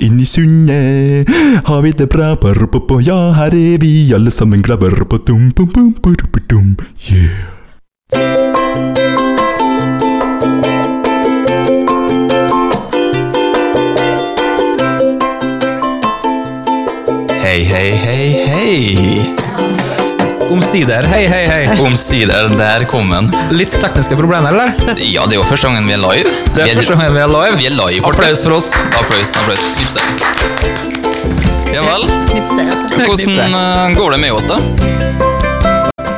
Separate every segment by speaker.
Speaker 1: Inn i sundet har vi det bra. Ja, her er vi alle sammen glade. Yeah.
Speaker 2: Hei, hei, hei, hei.
Speaker 3: Omsider. Hei, hei, hei.
Speaker 2: Omsider, der kom den.
Speaker 3: Litt tekniske problemer, eller?
Speaker 2: Ja, det er jo første gangen vi er live.
Speaker 3: Det er første gang vi er
Speaker 2: Vi
Speaker 3: live.
Speaker 2: er live.
Speaker 3: Applaus for oss.
Speaker 2: Applaus, applaus. Knipse. Ja vel.
Speaker 4: Knipser, ja.
Speaker 2: Hvordan eh, går det med oss, da?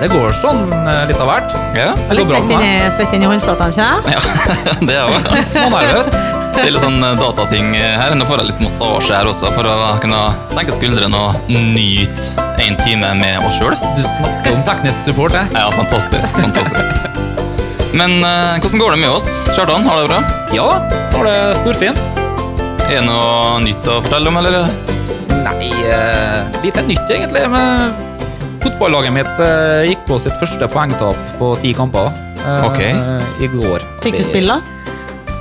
Speaker 3: Det går sånn eh, litt av hvert.
Speaker 2: Ja?
Speaker 3: Det
Speaker 4: Litt
Speaker 3: går bra
Speaker 4: svett
Speaker 3: for
Speaker 4: inn
Speaker 3: meg.
Speaker 4: i- svett inn i håndflatene, kjenner jeg.
Speaker 2: Ja, det er jo
Speaker 3: Små nervøs.
Speaker 2: Det er litt sånn eh, datating eh, her. Nå får jeg litt massasje her også, for å kunne senke skuldrene og nyte en time med oss sjøl.
Speaker 3: Du snakker om teknisk support, eh? jeg.
Speaker 2: Ja, fantastisk. Fantastisk. Men eh, hvordan går det med oss? Kjartan, har du det bra?
Speaker 3: Ja, var det storfint?
Speaker 2: Er det noe nytt å fortelle om, eller?
Speaker 3: Nei, eh, lite nytt egentlig. Men fotballaget mitt eh, gikk på sitt første poengtap på ti kamper. eh,
Speaker 2: Ok.
Speaker 3: I går.
Speaker 4: Fikk du spille, da?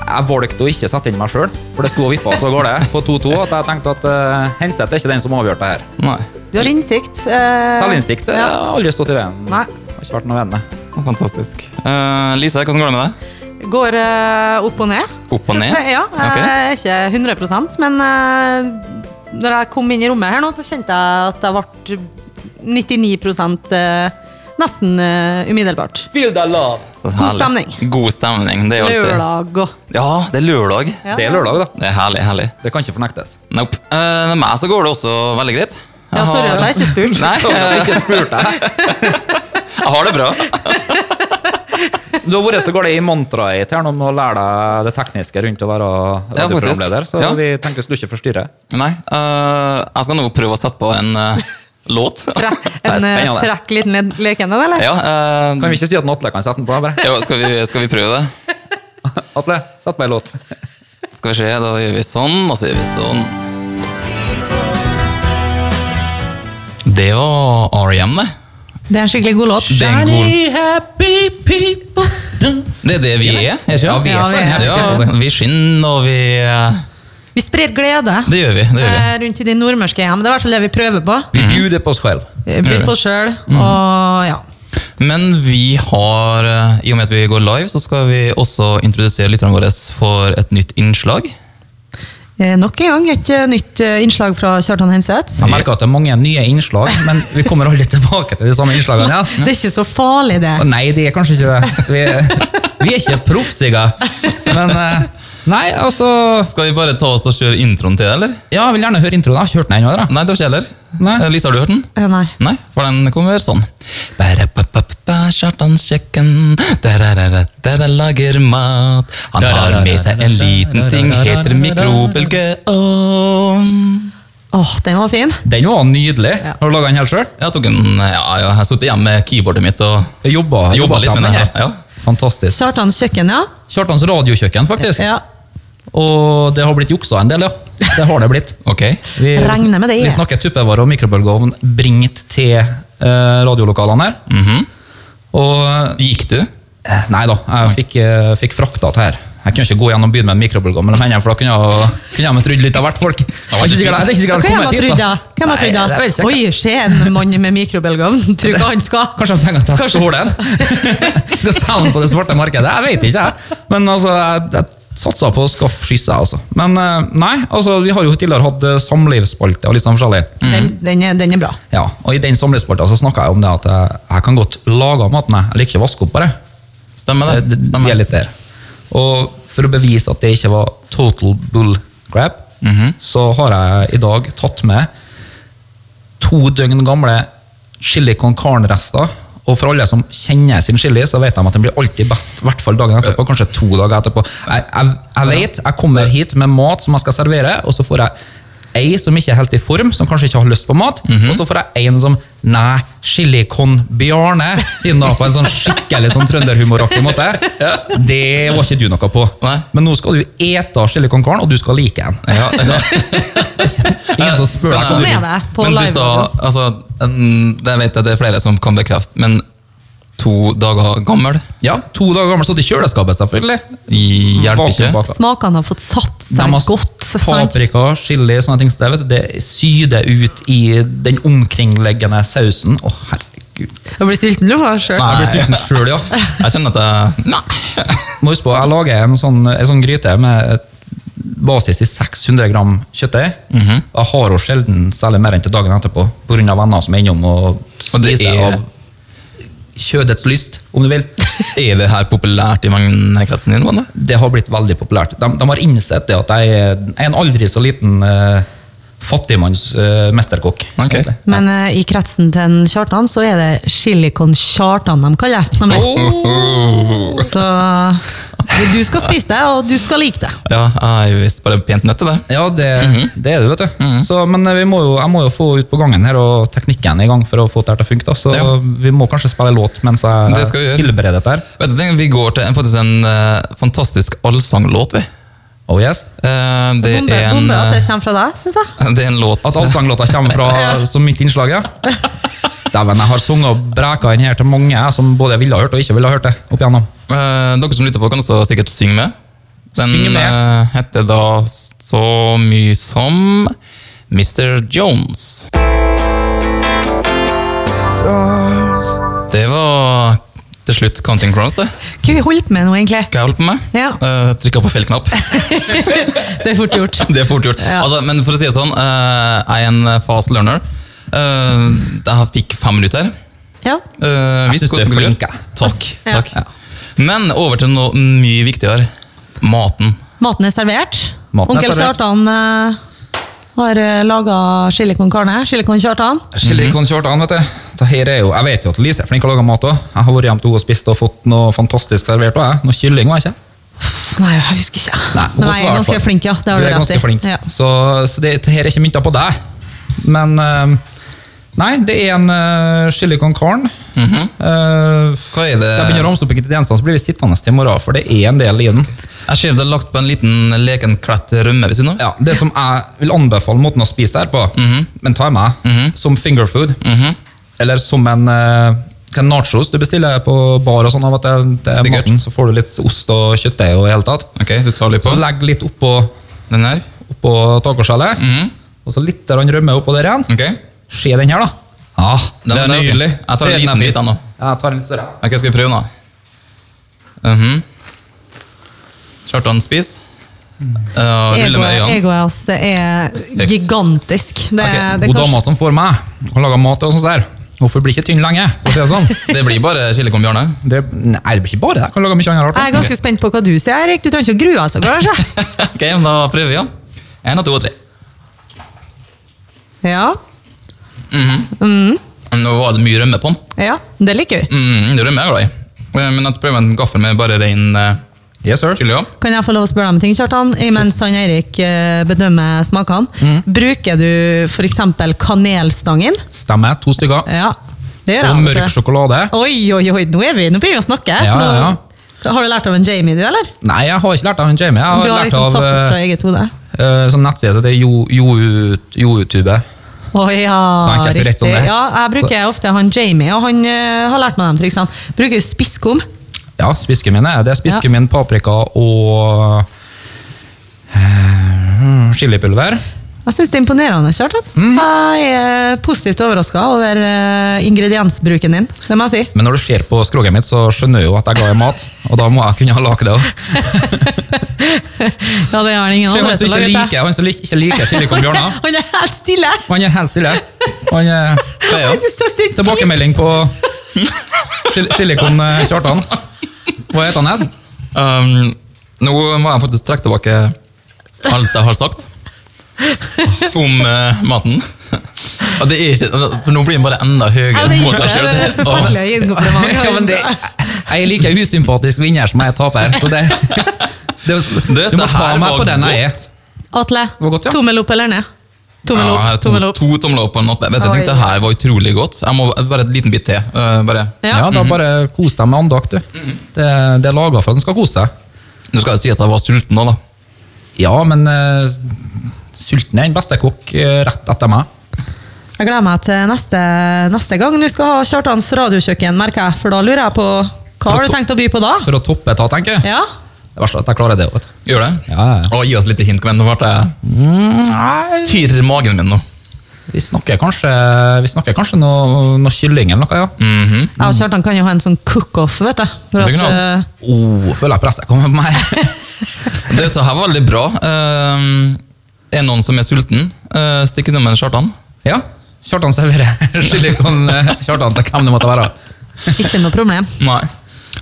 Speaker 3: Jeg valgte å ikke sette inn meg sjøl, for det sto og vippa så går det på 2-2 at jeg tenkte at uh, Henseth er ikke den som avgjorde det her.
Speaker 2: Nei.
Speaker 4: Du har innsikt. eh,
Speaker 3: Selvinnsikt det
Speaker 4: ja.
Speaker 3: har aldri stått i veien.
Speaker 4: Nei.
Speaker 3: Det Har ikke vært noe venn, det.
Speaker 2: Fantastisk. Eh, Lise, hvordan går det med deg?
Speaker 4: Går eh, opp og ned.
Speaker 2: Opp og ned?
Speaker 4: Ja, eh, jeg er ikke 100 men eh, når jeg kom inn i rommet her nå, så kjente jeg at jeg ble 99 eh, nesten eh, umiddelbart.
Speaker 3: Feel the love.
Speaker 2: Så herlig.
Speaker 4: stemning.
Speaker 2: God stemning, det er alltid.
Speaker 4: Lørdag og
Speaker 2: Ja, det er lørdag.
Speaker 4: ja.
Speaker 3: Det er lørdag, da.
Speaker 2: Det er herlig, herlig.
Speaker 3: Det kan ikke fornektes.
Speaker 2: Nope. Eh, med meg så går det også veldig greit. Jeg
Speaker 4: Ja, sorry
Speaker 2: har-
Speaker 4: at jeg ikke spurte.
Speaker 2: Nei,
Speaker 3: Sorry at jeg
Speaker 2: jeg
Speaker 3: ikke spurte deg.
Speaker 2: jeg har det bra.
Speaker 3: Du har vært så går det i mantraet ditt her nå med å lære deg det tekniske rundt å være
Speaker 2: Ja, faktisk.
Speaker 3: radioprogramleder, så
Speaker 2: Ja.
Speaker 3: vi tenkte vi skulle ikke forstyrre.
Speaker 2: Nei, eh, jeg skal nå prøve å sette på en eh, låt.
Speaker 4: Fre-
Speaker 3: er
Speaker 4: En eh,
Speaker 3: spennende.
Speaker 4: frekk liten le- leken, den, eller?
Speaker 2: Ja, eh,
Speaker 3: Kan vi ikke si at Atle kan sette den på? bare?
Speaker 2: jo, skal, vi, skal vi prøve det?
Speaker 3: Atle, sett på en låt.
Speaker 2: Skal vi se, da gjør vi sånn, og så gjør vi sånn. Det var R.E.M., det.
Speaker 4: Det er en skikkelig god låt.
Speaker 2: Det er en god- Det er det vi er, er ikke det?
Speaker 4: Ja, vi er.
Speaker 2: Ja, vi skinner, og vi eh,
Speaker 4: Vi sprer glede
Speaker 2: Det gjør vi. det gjør vi.
Speaker 4: eh, rundt i de nordmørske hjem. Det er i hvert fall det vi prøver på.
Speaker 3: Vi bjuder på oss selv.
Speaker 4: Vi blir på oss sjøl,
Speaker 3: Mm.
Speaker 4: og ja.
Speaker 2: Men vi har, eh, i og med at vi går live, så skal vi også introdusere lytterne våre for et nytt innslag.
Speaker 4: Eh, Nok en gang et eh, nytt eh, innslag fra Kjartan Henseth.
Speaker 3: Jeg merker at det er mange nye innslag, men vi kommer aldri tilbake til de samme innslagene. Ja.
Speaker 4: Det er ikke så farlig, det.
Speaker 3: Å, Nei, det er kanskje ikke det. Vi, vi er ikke proffsiga. Men eh, Nei, altså
Speaker 2: Skal vi bare ta oss og kjøre introen til det, eller?
Speaker 3: Ja, jeg vil gjerne høre introen. Jeg har ikke hørt den ennå. da.
Speaker 2: Nei, det har ikke jeg heller.
Speaker 3: Nei.
Speaker 2: Eh, Lise, har du hørt den?
Speaker 4: Eh, Nei.
Speaker 2: Nei, for den kommer sånn. Ba-ra-ba-ba-ba, Kjartans kjøkken, der-ra-ra-ra, der han lager mat. Han har med seg en liten ting, heter mikrobølgeovn.
Speaker 4: Åh, den var fin.
Speaker 3: Den var nydelig.
Speaker 4: Ja.
Speaker 3: Har du laga den helt sjøl?
Speaker 2: Jeg tok en, ja, jeg har sittet hjemme med keyboardet mitt og
Speaker 3: Jobba,
Speaker 2: jobba litt med den. her. Ja.
Speaker 3: Fantastisk.
Speaker 4: Kjartans kjøkken, ja.
Speaker 3: Kjartans radiokjøkken, faktisk.
Speaker 4: ja.
Speaker 3: Og det har blitt juksa en del, ja. Det har det blitt.
Speaker 2: Ok.
Speaker 3: Vi,
Speaker 4: Regner med det, ja.
Speaker 3: vi snakker tuppevarer og mikrobølgeovn bringt til eh, radiolokalene her.
Speaker 2: Mhm.
Speaker 3: Og
Speaker 2: Gikk du?
Speaker 3: Eh, Nei da, jeg fikk, eh, fikk frakta det her. Jeg kunne ikke gå gjennom byen med en mikrobølgeovn mellom hendene, for da kunne jeg, kunne jeg ha trodd litt av hvert folk. Det er ikke sikkert det er ikke
Speaker 4: Hva
Speaker 3: sikkert jeg hadde
Speaker 4: har
Speaker 3: kommet
Speaker 4: jeg
Speaker 3: hit,
Speaker 4: trodd, da?
Speaker 3: da.
Speaker 4: Hvem
Speaker 3: Nei,
Speaker 4: har trodd
Speaker 3: jeg vet
Speaker 4: da?
Speaker 3: ikke.
Speaker 4: Oi, se en mann med mikrobølgeovn. Tror hva han skal.
Speaker 3: Kanskje de tenker at jeg stjal den? Skal selge den på det svarte markedet? Jeg vet ikke, jeg. Men altså, jeg, jeg satsa på å skaffe skyss, jeg, altså. Men eh, nei, altså, vi har jo tidligere hatt eh, samlivsspalte og litt sånn forskjellig.
Speaker 4: Den, den, er, den er bra.
Speaker 3: Ja, og i den samlivsspalta så snakka jeg om det at jeg, jeg kan godt lage maten, jeg. Jeg liker ikke å vaske opp på det.
Speaker 2: Stemmer
Speaker 3: Eh, Det,
Speaker 2: det.
Speaker 3: det,
Speaker 2: Stemmer.
Speaker 3: det er litt der. Og for å bevise at det ikke var total bull crap, så har jeg i dag tatt med to døgn gamle chili con carne-rester. Og for alle som kjenner sin chili, så vet de at den blir alltid best. I hvert fall dagen etterpå, kanskje to dager etterpå. Jeg, jeg, jeg vet, jeg kommer hit med mat som jeg skal servere, og så får jeg ei som ikke er helt i form, som kanskje ikke har lyst på mat,
Speaker 2: Mhm.
Speaker 3: og så får jeg en som Nei, chili con Bjarne, siden da på en sånn skikkelig sånn trønderhumoraktig måte. Det var ikke du noe på.
Speaker 2: Nei.
Speaker 3: Men nå skal du ete chili con carne, og du skal like den.
Speaker 2: Ja, ja.
Speaker 3: Ingen som spør deg. hva du
Speaker 4: Sånn
Speaker 3: vil.
Speaker 4: er det på
Speaker 2: men du
Speaker 4: live.
Speaker 2: sa altså, mm, Jeg vet at det er flere som kan bekrefte, men to dager gammel.
Speaker 3: Ja, To dager gammel, stått i kjøleskapet, selvfølgelig.
Speaker 2: I- Hjelper ikke.
Speaker 3: Vakuumpakka.
Speaker 4: Smakene har fått satt
Speaker 3: De
Speaker 4: seg
Speaker 3: har
Speaker 4: godt. sant?
Speaker 3: Paprika, chili, sånne ting. som Det, vet du, det syder ut i den omkringliggende sausen. Å, herregud.
Speaker 4: Jeg blir sulten nå, sjøl.
Speaker 3: Jeg blir
Speaker 2: Nei,
Speaker 3: sulten sjøl, ja.
Speaker 2: jeg kjenner at jeg Nei!
Speaker 3: Må huske på, jeg lager en sånn, en sånn gryte med et basis i 600 gram kjøttdeig. Jeg har jo sjelden særlig mer enn til dagen etterpå, pga. venner som er innom og
Speaker 2: det
Speaker 3: spiser
Speaker 2: er-
Speaker 3: av kjødets lyst, om du vil.
Speaker 2: Er det her populært i vennekretsen din? Vanne?
Speaker 3: Det har blitt veldig populært. De, de har innsett det at jeg er jeg er en aldri så liten uh, fattigmanns eh, mesterkokk.
Speaker 2: Ok.
Speaker 3: egentlig.
Speaker 4: Men eh, i kretsen til en Kjartan så er det Chilicon Kjartan de kaller det. nemlig.
Speaker 3: Oh.
Speaker 4: Så eh, du skal spise det, og du skal like det.
Speaker 2: Ja, jeg er visst bare pent nødt til det.
Speaker 3: Ja, det,
Speaker 2: Mhm.
Speaker 3: det er det, vet du. så, men eh, vi må jo, jeg må jo få ut på gangen her og teknikken i gang for å få det her til å funke. Da. Så
Speaker 2: Ja.
Speaker 3: vi må kanskje spille låt mens jeg eh,
Speaker 2: Det skal vi gjøre.
Speaker 3: tilbereder dette. her.
Speaker 2: Vet du, ting, Vi går til en, faktisk en eh, fantastisk allsanglåt, vi.
Speaker 3: Oh yes.
Speaker 2: Eh, det,
Speaker 4: Bonde,
Speaker 2: er en,
Speaker 4: bonde at
Speaker 2: eh,
Speaker 4: det kommer fra deg, syns jeg.
Speaker 2: det er en låt
Speaker 3: At allsanglåta kommer fra som mitt innslag, ja. Dæven, jeg har sunget og breka den her til mange jeg, som både ville ha hørt og ikke ville ha hørt det. opp igjennom.
Speaker 2: Eh, Dere som lytter på, kan også sikkert synge med. Den
Speaker 3: Synge med.
Speaker 2: eh, heter da så mye som Mr. Jones. Det var til slutt Counting Crowns, det.
Speaker 4: Hva vi holder på med nå, egentlig?
Speaker 2: Hva jeg holdt på med?
Speaker 4: Ja.
Speaker 2: Eh, Trykka på feil knapp.
Speaker 4: Det er fort gjort.
Speaker 2: Det er fort gjort.
Speaker 4: Ja.
Speaker 2: Altså, men for å si det sånn, eh, jeg er en fast learner. Eh, jeg fikk fem minutter.
Speaker 4: Ja.
Speaker 2: Uh,
Speaker 3: synes du er flink, jeg.
Speaker 2: Takk.
Speaker 4: Ja.
Speaker 2: takk. Men over til noe mye viktigere. Maten.
Speaker 4: Maten er servert.
Speaker 3: Maten er
Speaker 4: Onkel
Speaker 3: servert.
Speaker 4: Kjartan eh, har eh, laga chili con carne. Chili con Kjartan.
Speaker 3: Chili con Kjartan, vet du. Det her er jo, jeg vet jo at Lise er flink til å lage mat òg. Jeg har vært hjem til henne og spist og fått noe fantastisk servert. Også, jeg. Noe kylling var jeg ikke.
Speaker 4: Nei, jeg husker ikke.
Speaker 3: Nei, godt
Speaker 4: Men jeg
Speaker 3: i hvert
Speaker 4: er
Speaker 3: fall.
Speaker 4: ganske flink, ja. Det har
Speaker 3: du
Speaker 4: du,
Speaker 3: er ganske flink.
Speaker 4: rett i. Ja.
Speaker 3: Så, så det, det her er ikke mynta på deg. Men eh, Nei, det er en uh, chili con carne. Eh,
Speaker 2: Hva er det?
Speaker 3: jeg begynner å ramse opp ingrediensene, så blir vi sittende til i morgen, for det er en del i den.
Speaker 2: Jeg ser det er lagt på en liten leken klett rømme ved siden av.
Speaker 3: Ja, det som jeg vil anbefale måten å spise det her på, men ta med, som fingerfood,
Speaker 2: Mhm.
Speaker 3: eller som en eh, hva er nachos du bestiller på bar og sånn av at det, det er
Speaker 2: Sikkert.
Speaker 3: maten, så får du litt ost og kjøttdeig og i hele tatt.
Speaker 2: Ok, du tar litt på.
Speaker 3: Så legg litt oppå,
Speaker 2: Den her.
Speaker 3: oppå tacoskjellet,
Speaker 2: Mhm.
Speaker 3: og så litt grann rømme oppå der igjen.
Speaker 2: Ok.
Speaker 3: Se den her, da. Ja, det er
Speaker 2: Mm. den er ok.
Speaker 3: nydelig.
Speaker 2: Jeg tar en
Speaker 3: Se den
Speaker 2: liten
Speaker 3: her
Speaker 2: bit
Speaker 3: fritt.
Speaker 2: ennå.
Speaker 3: Ja, jeg tar en litt større.
Speaker 2: Ok, skal vi prøve nå? Mhm. Kjartan spis.
Speaker 4: Mm.
Speaker 2: Uh, rulle med
Speaker 4: Egoet,
Speaker 2: øynene.
Speaker 4: egoet hans er gigantisk. Det,
Speaker 2: Ok,
Speaker 3: Hun
Speaker 4: det kanskje-
Speaker 3: dama som får meg, og lager mat og sånn sånt der, hvorfor blir ikke tynn lenge? For å si det sånn.
Speaker 2: Det blir bare chili con bjørne.
Speaker 3: Det, nei, det blir ikke bare det. Jeg kan lage mye annet rart.
Speaker 4: Jeg er
Speaker 3: også.
Speaker 4: ganske spent på hva du sier, Erik. Du trenger ikke å grue deg så kanskje.
Speaker 2: ok, men da prøver vi, ja. En, to og tre.
Speaker 4: Ja,
Speaker 2: Nå var det mye rømme på den.
Speaker 4: ja, det liker vi.
Speaker 2: Mm, det rømme er jeg glad i. Eh, Men jeg prøver en gaffel med bare ren eh,
Speaker 3: Yes, sir.
Speaker 2: chili. ja.
Speaker 4: Kan jeg få lov å spørre deg om ting, Kjartan? Imens han Eirik eh, bedømmer smakene.
Speaker 3: Mm.
Speaker 4: Bruker du f.eks. kanelstangen?
Speaker 3: Stemmer. To stykker.
Speaker 4: Ja, det gjør jeg.
Speaker 3: Og
Speaker 4: vet du.
Speaker 3: mørk sjokolade.
Speaker 4: Oi, oi, oi, nå, er vi, nå begynner vi å snakke.
Speaker 3: Ja, ja, ja.
Speaker 4: Nå- Har du lært av en Jamie, du, eller?
Speaker 3: Nei, jeg har ikke lært av han Jamie. Jeg har,
Speaker 4: Du har
Speaker 3: lært
Speaker 4: liksom
Speaker 3: av
Speaker 4: tatt det fra
Speaker 3: eh,
Speaker 4: eget hode.
Speaker 3: eh, sånn nettside, så det er Jo- Jo- YouTube.
Speaker 4: Å ja,
Speaker 3: Så enkelt og rett som
Speaker 4: riktig.
Speaker 3: det er.
Speaker 4: Ja, jeg bruker ofte han Jamie, og han eh, har lært meg dem, for eksempel. Bruker jo spisskum.
Speaker 3: Ja, spiskummin er det. Det er spiskummin, paprika og eh, chilipulver.
Speaker 4: Jeg syns det er imponerende, Kjartan. Jeg er positivt overraska over eh, ingrediensbruken din. Det må jeg si.
Speaker 3: Men når du ser på skroget mitt, så skjønner jeg jo at jeg er glad i mat, og da må jeg kunne ha lage det òg.
Speaker 4: Ja, det har ingen
Speaker 3: Han
Speaker 4: andre
Speaker 3: som ikke
Speaker 4: til å lage til.
Speaker 3: liker, han som ikke liker chili con bjørner,
Speaker 4: Han er helt stille!
Speaker 3: han er helt stille. Han er
Speaker 2: Det er jo.
Speaker 4: Jeg synes det er fint.
Speaker 3: tilbakemelding på chili- chili con eh, Kjartan. Hva heter han hest?
Speaker 2: Um, nå må jeg faktisk trekke tilbake alt jeg har sagt om eh, maten. Og det er ikke, for nå blir den bare enda
Speaker 4: Ja,
Speaker 2: høyere
Speaker 4: det
Speaker 2: på
Speaker 4: gjør
Speaker 2: seg
Speaker 4: det. Det er
Speaker 2: sjøl.
Speaker 4: forferdelig å gi en kompliment.
Speaker 3: Ja, men det, jeg er like usympatisk vinner som jeg er taper. Så det, det,
Speaker 2: Dette
Speaker 3: du må ta
Speaker 2: her
Speaker 3: meg
Speaker 2: var
Speaker 3: på den jeg er.
Speaker 4: Atle,
Speaker 3: var godt, ja.
Speaker 4: tommel opp eller ned? Tommel
Speaker 2: Ja, jeg
Speaker 4: opp,
Speaker 2: har to,
Speaker 4: tommel opp.
Speaker 2: to tomler opp og en nappe. Vet du, jeg tenkte det her var utrolig godt. Jeg må Bare en liten bit til. eh, bare.
Speaker 4: Ja.
Speaker 3: Ja, Da bare kos deg med andakt, du. Det, det er laga for at den skal kose seg.
Speaker 2: Nå skal det si at jeg var sulten nå, da.
Speaker 3: Ja, men eh, sulten er den beste kokk eh, rett etter meg.
Speaker 4: Jeg gleder meg til neste, neste gang du skal ha Kjartans radiokjøkken, merker jeg. For da lurer jeg på hva har du tenkt å by på da?
Speaker 3: For å toppe ta, tenker jeg.
Speaker 4: Ja?
Speaker 3: Det verste er at jeg klarer det. Vet. du.
Speaker 2: Gjør det?
Speaker 3: Ja, ja.
Speaker 2: Å, gi oss litt hint. Kom igjen, nå ble jeg Tirrer i magen min nå.
Speaker 3: Vi snakker kanskje, vi snakker kanskje noe, noe kylling eller noe, ja.
Speaker 2: Mhm.
Speaker 4: Jeg og Kjartan kan jo ha en sånn cook-off, vet du. For
Speaker 2: Det kan
Speaker 4: at,
Speaker 2: han.
Speaker 4: eh,
Speaker 3: Oh, føler jeg presset kommer på meg.
Speaker 2: Dette her var veldig bra. Um, er det noen som er sulten? Uh, Stikk innom med Kjartan.
Speaker 3: ja, Kjartan serverer silikon eh, Kjartan til hvem det måtte være.
Speaker 4: eh, ikke noe problem.
Speaker 2: Nei.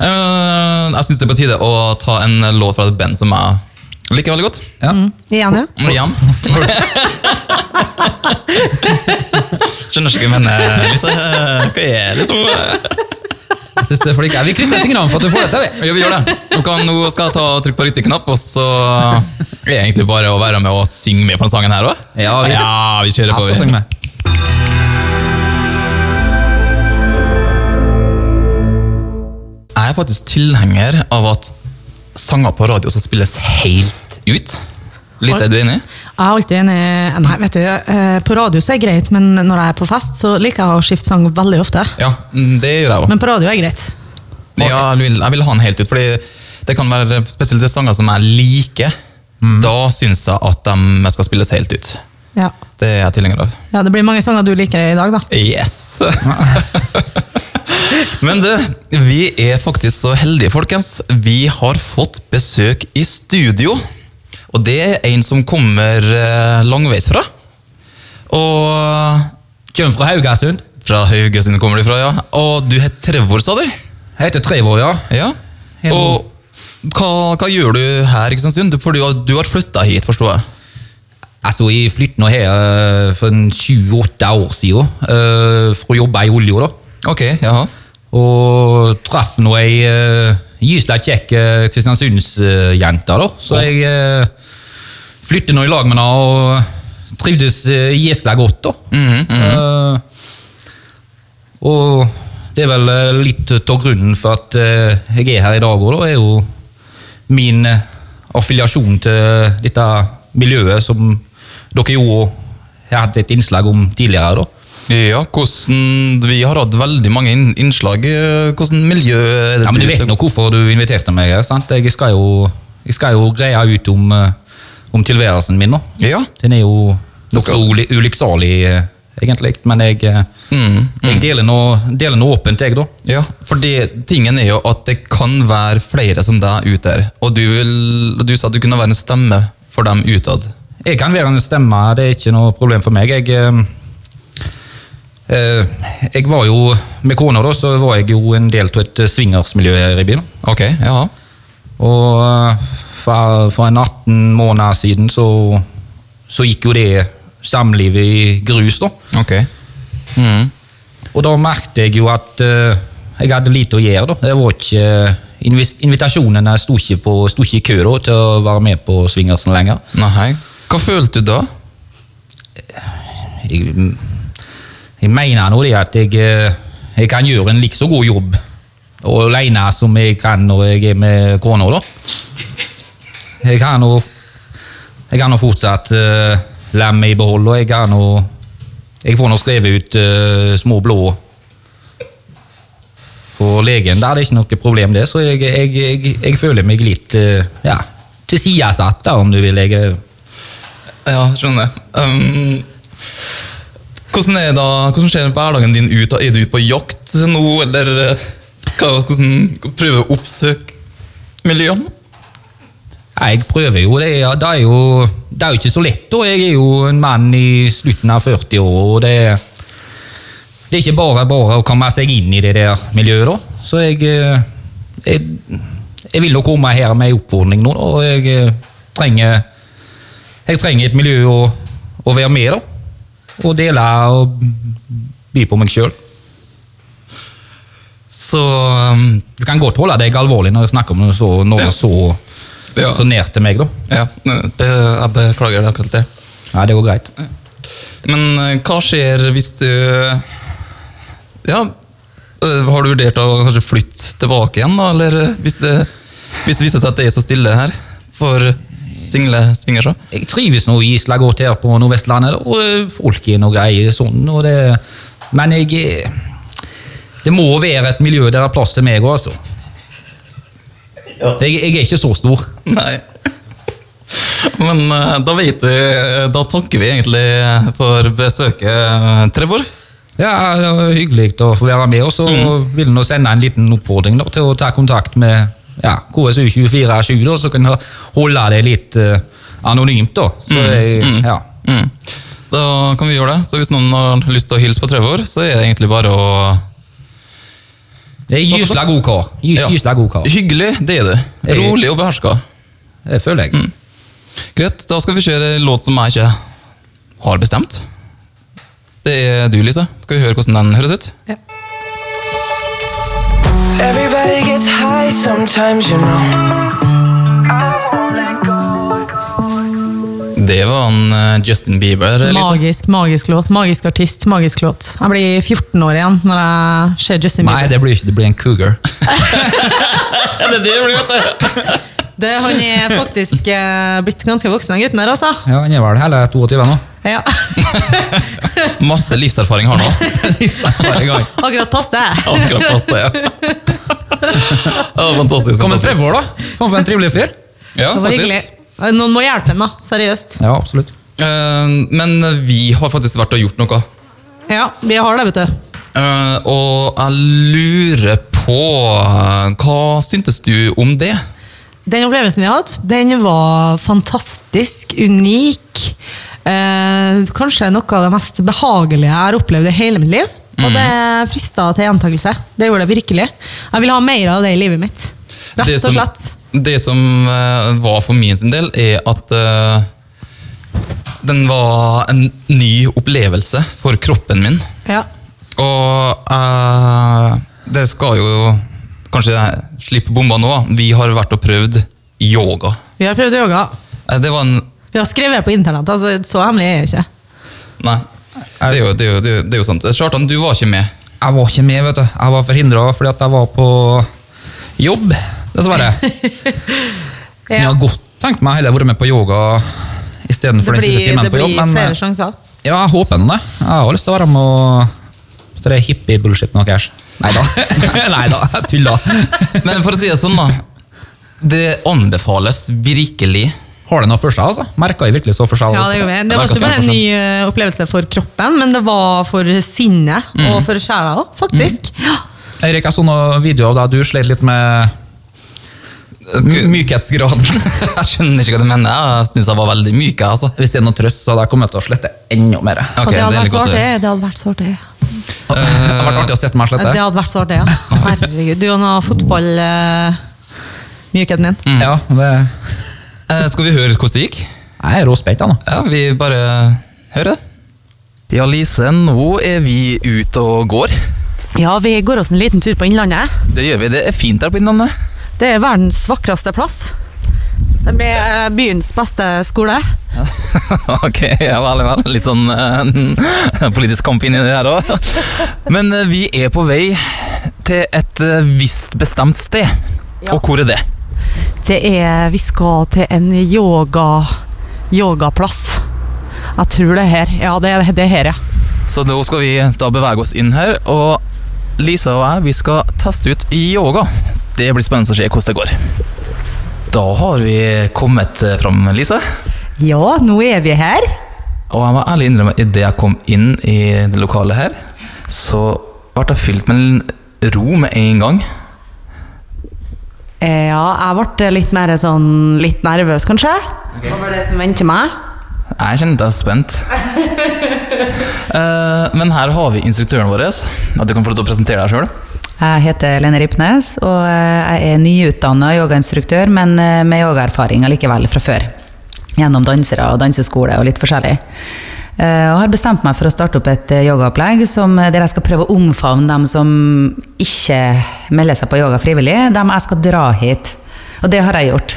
Speaker 2: Eh, jeg syns det er på tide å ta en låt fra et band som jeg liker veldig godt.
Speaker 3: Ja.
Speaker 4: Igjen, ja.
Speaker 2: Igjen. Skjønner ikke hva jeg mener. Lise. Hva er det liksom?
Speaker 3: Jeg synes det er for ikke. Vi krysser fingrene for at du får det til. vi.
Speaker 2: Ja, vi gjør det. Nå skal, nå skal jeg ta og trykke på riktig knapp, og så er det egentlig bare å være med og synge med på denne sangen her òg.
Speaker 3: Ja, vi-
Speaker 2: ja, vi kjører
Speaker 3: Jeg
Speaker 2: på.
Speaker 3: skal
Speaker 2: vi.
Speaker 3: synge med.
Speaker 2: Jeg er faktisk tilhenger av at sanger på radio skal spilles helt ut. Lise, er du enig?
Speaker 4: Jeg er alltid enig Nei, vet du, eh, på radio så er det greit, men når jeg er på fest, så liker jeg å skifte sang veldig ofte.
Speaker 2: Ja, mm, det gjør jeg òg.
Speaker 4: Men på radio er det greit.
Speaker 2: Ja, jeg vil, jeg vil ha den helt ut, fordi det kan være spesielt de sanger som jeg liker.
Speaker 3: Mm.
Speaker 2: Da syns jeg at de skal spilles helt ut.
Speaker 4: Ja.
Speaker 2: Det er jeg tilhenger av.
Speaker 4: ja, det blir mange sanger du liker i dag, da.
Speaker 2: Yes! Men du, vi er faktisk så heldige, folkens. Vi har fått besøk i studio. Og det er en som kommer eh, langveisfra. Og
Speaker 3: Kjøm fra Haugesund.
Speaker 2: Fra Haugesund kommer du fra, ja. Og du heter Trevor, sa du?
Speaker 3: Jeg heter Trevor, ja.
Speaker 2: Ja.
Speaker 3: Hello.
Speaker 2: Og hva, hva gjør du her i Kristiansund? Du- For du, har- du har flytta hit, forstår jeg.
Speaker 3: Altså, jeg flyttet nå her eh, for en 28 år siden, eh, for å jobbe i olje, da.
Speaker 2: Ok, jaha.
Speaker 3: Og traff nå ei uh, gysla kjekk uh, Kristiansundsjente, da. Så jeg uh, flyttet nå i lag med henne og trivdes uh, gjesla godt, da.
Speaker 2: Mhm.
Speaker 3: Eh, og det er vel eh, litt av grunnen for at eh, jeg er her i dag òg, da, er jo min eh, affiliasjon til dette miljøet som dere jo har hatt et innslag om tidligere, da.
Speaker 2: Ja, hvordan, Vi har hatt veldig mange inn- innslag. eh, Hvordan miljø er det
Speaker 3: Ja, men Du
Speaker 2: du-
Speaker 3: vet nok hvorfor du inviterte meg. her, sant? Jeg skal jo, jeg skal jo greie ut om, eh, om tilværelsen min. nå.
Speaker 2: Ja.
Speaker 3: Den er jo
Speaker 2: Du skal-
Speaker 3: nokså uli- ulykksalig, eh, egentlig. Men jeg, eh,
Speaker 2: Mm,
Speaker 3: jeg deler noe, deler noe åpent, jeg, da.
Speaker 2: ja. For det, tingen er jo at det kan være flere som deg ute her. Og du, vil, og du sa at du kunne være en stemme for dem utad.
Speaker 3: Jeg kan være en stemme, det er ikke noe problem for meg. Jeg, eh, eh, jeg var jo, Med kona da, så var jeg jo en del av et eh, swingersmiljø her i byen.
Speaker 2: Ok, jaha.
Speaker 3: Og eh, for, for en 18 måneder siden så, så gikk jo det samlivet i grus, da.
Speaker 2: Ok. Mm.
Speaker 3: Og da merkte jeg jo at eh, jeg hadde lite å gjøre, da. Det var ikke eh, invis- Invitasjonene sto ikke, på, sto ikke i kø da, til å være med på Svingersen lenger.
Speaker 2: Nei. Hva følte du da?
Speaker 3: Jeg, jeg mener nå det at jeg, eh, jeg kan gjøre en likså god jobb og alene som jeg kan når jeg er med kona, da. Jeg har nå Jeg har nå fortsatt uh, lam i behold, og jeg har nå Jeg får nå skrevet ut eh, små blå på legen. Der det er ikke noe problem, det. Så jeg, jeg, jeg, jeg føler meg litt eh, ja, tilsidesatt, da, om du vil. Jeg, er-
Speaker 2: Ja, skjønner jeg. Ehm, hvordan, er da, hvordan ser hverdagen din ut? da? Er du på jakt nå, eller eh, hva, hvordan prøver du å oppsøke miljøene?
Speaker 3: Nei, Jeg prøver jo. Det er, det, er jo, det er jo ikke så lett. da. Jeg er jo en mann i slutten av 40 år, og det, er- det er ikke bare bare å komme seg inn i det der miljøet. da. Så jeg, eh, jeg, jeg vil jo komme her med en oppfordring nå, da, og jeg eh, trenger, jeg trenger et miljø å, å være med i. Og dele og by på meg sjøl.
Speaker 2: Så ehm,
Speaker 3: Du kan godt holde deg alvorlig når du snakker om noe så, noe
Speaker 2: Ja.
Speaker 3: så,
Speaker 2: ja,
Speaker 3: så nært til meg. da.
Speaker 2: ja eh, be- jeg beklager det akkurat det.
Speaker 3: Ja, det går greit.
Speaker 2: Men eh, hva skjer hvis du Ja, eh, har du vurdert å kanskje flytte tilbake igjen, da? Eller eh, hvis det, hvis det viser seg at det er så stille her? For Single swingerser.
Speaker 3: Jeg trives nå i Isla godt her på Nordvestlandet, og eh, folk er noe greier sånn. Og det, men jeg eh, Det må være et miljø der det er plass til meg òg, altså. Jeg, jeg er ikke så stor.
Speaker 2: Nei. Men eh, da vet vi eh, Da takker vi egentlig for besøket, eh, Trevor.
Speaker 3: Ja, det var Hyggelig å få være med, og så
Speaker 2: Mm.
Speaker 3: vil jeg nå sende en liten oppfordring da, til å ta kontakt med ja, KSU247, da, så kan jeg holde det litt eh, anonymt. da. Så jeg, ja.
Speaker 2: Mm. Da kan vi gjøre det. Så hvis noen har lyst til å hilse på Trevor, så er det egentlig bare å
Speaker 3: Det er gysla god kar. Gys-
Speaker 2: Ja. Mm.
Speaker 3: Gysla god kar.
Speaker 2: Hyggelig, det er du.
Speaker 3: Hei.
Speaker 2: Rolig og beherska.
Speaker 3: Det føler jeg.
Speaker 2: Mm. Greit, da skal vi kjøre en låt som jeg ikke har bestemt. Det er du, Lise. Skal vi høre hvordan den høres ut?
Speaker 5: Everybody gets high sometimes, you know.
Speaker 2: Det var han eh, Justin Bieber. Lise.
Speaker 4: Magisk, magisk låt. Magisk artist, magisk låt. Jeg blir 14 år igjen når jeg ser Justin
Speaker 3: Nei,
Speaker 4: Bieber.
Speaker 3: det blir ikke, det blir en cougar.
Speaker 2: Ja, det er det det blir, vet du.
Speaker 4: Det, han er faktisk eh, blitt ganske voksen, den gutten her, altså.
Speaker 3: Ja, Han er vel heller 22 nå.
Speaker 4: Ja.
Speaker 2: Masse livserfaring har han nå.
Speaker 3: Bare i gang.
Speaker 4: Akkurat passe.
Speaker 2: Akkurat passe, ja. Det var fantastisk.
Speaker 3: Kom en
Speaker 2: fantastisk.
Speaker 3: Trevor, da! Faen for en trivelig fyr.
Speaker 2: Ja,
Speaker 4: Det var hyggelig.
Speaker 2: faktisk.
Speaker 4: Noen må hjelpe ham, da. Seriøst.
Speaker 3: Ja, absolutt.
Speaker 2: Eh, Men vi har faktisk vært og gjort noe.
Speaker 4: Ja, vi har det, vet du.
Speaker 2: Eh, og jeg lurer på eh, Hva syntes du om det?
Speaker 4: Den opplevelsen vi hadde, den var fantastisk, unik. Eh, kanskje noe av det mest behagelige jeg har opplevd i hele mitt liv. Og det frista til gjentakelse. Det gjorde det virkelig. Jeg vil ha mer av det i livet mitt. Rett
Speaker 2: det
Speaker 4: og slett.
Speaker 2: Som, det som eh, var for min sin del, er at eh, den var en ny opplevelse for kroppen min.
Speaker 4: Ja.
Speaker 2: Og eh, det skal jo kanskje slippe bomba nå. da. Vi har vært og prøvd yoga.
Speaker 4: Vi har prøvd yoga.
Speaker 2: Eh, Det var en
Speaker 4: Vi har skrevet på internett, altså så hemmelig er jeg ikke.
Speaker 2: Nei. Det er jo, det er jo, det er jo, det er jo sant. Kjartan, du var ikke med.
Speaker 3: Jeg var ikke med, vet du. Jeg var forhindra fordi at jeg var på jobb, dessverre. Men Jeg
Speaker 4: Ja.
Speaker 3: har godt tenkt meg heller vært med på yoga istedenfor
Speaker 4: Det
Speaker 3: den siste
Speaker 4: blir,
Speaker 3: timen
Speaker 4: det
Speaker 3: på
Speaker 4: blir
Speaker 3: jobb. Men eh,
Speaker 4: flere
Speaker 3: ja,
Speaker 4: sjanser.
Speaker 3: jeg håper nå det. Jeg har lyst til å være med og så det er hippie-bullshit noe her. Nei da. Nei da, jeg tuller.
Speaker 2: Men for å si det sånn, da. Det anbefales virkelig.
Speaker 3: Har det noe for seg, altså? Merka jeg virkelig så for seg?
Speaker 4: Ja, det gjorde vi. Det
Speaker 2: Det
Speaker 4: var
Speaker 2: verker
Speaker 4: ikke bare en
Speaker 2: sånn.
Speaker 4: ny eh, opplevelse for kroppen, men det var for sinnet og for sjela òg, faktisk. Ja.
Speaker 3: Eirik, jeg så noen videoer av deg du slet litt med my- mykhetsgraden.
Speaker 2: Jeg skjønner ikke hva du mener. Jeg syns jeg var veldig myk. jeg, altså.
Speaker 3: Hvis det er noe trøst, så hadde jeg kommet til å slette enda mer.
Speaker 2: Ok,
Speaker 4: og det hadde
Speaker 2: er
Speaker 4: vært
Speaker 2: litt
Speaker 4: så
Speaker 2: godt å
Speaker 4: artig.
Speaker 2: høre.
Speaker 4: Det hadde vært så artig.
Speaker 3: Det hadde vært artig å sette meg slette.
Speaker 4: Det hadde vært så artig, ja. Herregud. Du og noe fotball... eh, Mykheten din.
Speaker 3: Ja, det
Speaker 2: Eh, Skal vi høre hvordan det gikk?
Speaker 3: Jeg er råspent, jeg nå.
Speaker 2: Ja, vi bare hører det. Ja, Lise, nå er vi ute og går.
Speaker 4: Ja, vi går oss en liten tur på Innlandet.
Speaker 2: Det gjør vi. Det er fint her på Innlandet.
Speaker 4: Det er verdens vakreste plass. Med eh, byens beste skole.
Speaker 2: ok, ja vel, vel. Litt sånn eh, politisk kamp inni det her òg. Men eh, vi er på vei til et eh, visst bestemt sted.
Speaker 4: Ja.
Speaker 2: Og hvor er det?
Speaker 4: Det er Vi skal til en yoga... yogaplass. Jeg tror det er her. Ja, det er det er her, ja.
Speaker 2: Så nå skal vi da bevege oss inn her, og Lisa og jeg vi skal teste ut yoga. Det blir spennende å se hvordan det går. Da har vi kommet eh, fram, Lise.
Speaker 4: Ja, nå er vi her.
Speaker 2: Og jeg må ærlig innrømme, idet jeg kom inn i det lokalet her, så ble jeg fylt med en ro med en gang.
Speaker 4: Eh, Ja, jeg ble litt mer sånn litt nervøs, kanskje. Over det som venter meg.
Speaker 2: Jeg kjenner at jeg er spent. Eh, men her har vi instruktøren vår. At du kan få lov til å presentere deg sjøl.
Speaker 6: Jeg heter Lene Ripnes, og eh, jeg er nyutdanna yogainstruktør, men eh, med yogaerfaring likevel fra før. Gjennom dansere og danseskole og litt forskjellig. Eh, Og har bestemt meg for å starte opp et eh, yogaopplegg som, eh, der jeg skal prøve å omfavne dem som ikke melder seg på yoga frivillig, dem jeg skal dra hit. Og det har jeg gjort.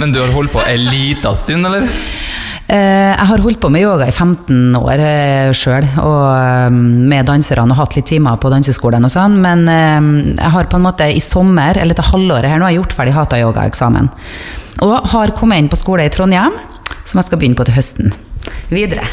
Speaker 2: Men du har holdt på ei lita stund, eller?
Speaker 6: Eh, Jeg har holdt på med yoga i 15 år sjøl, og eh, med danserne og hatt litt timer på danseskolen og sånn, men eh, jeg har på en måte i sommer, eller dette halvåret her nå, har jeg gjort ferdig hata-yoga-eksamen. Og har kommet inn på skole i Trondheim, som jeg skal begynne på til høsten. Videre.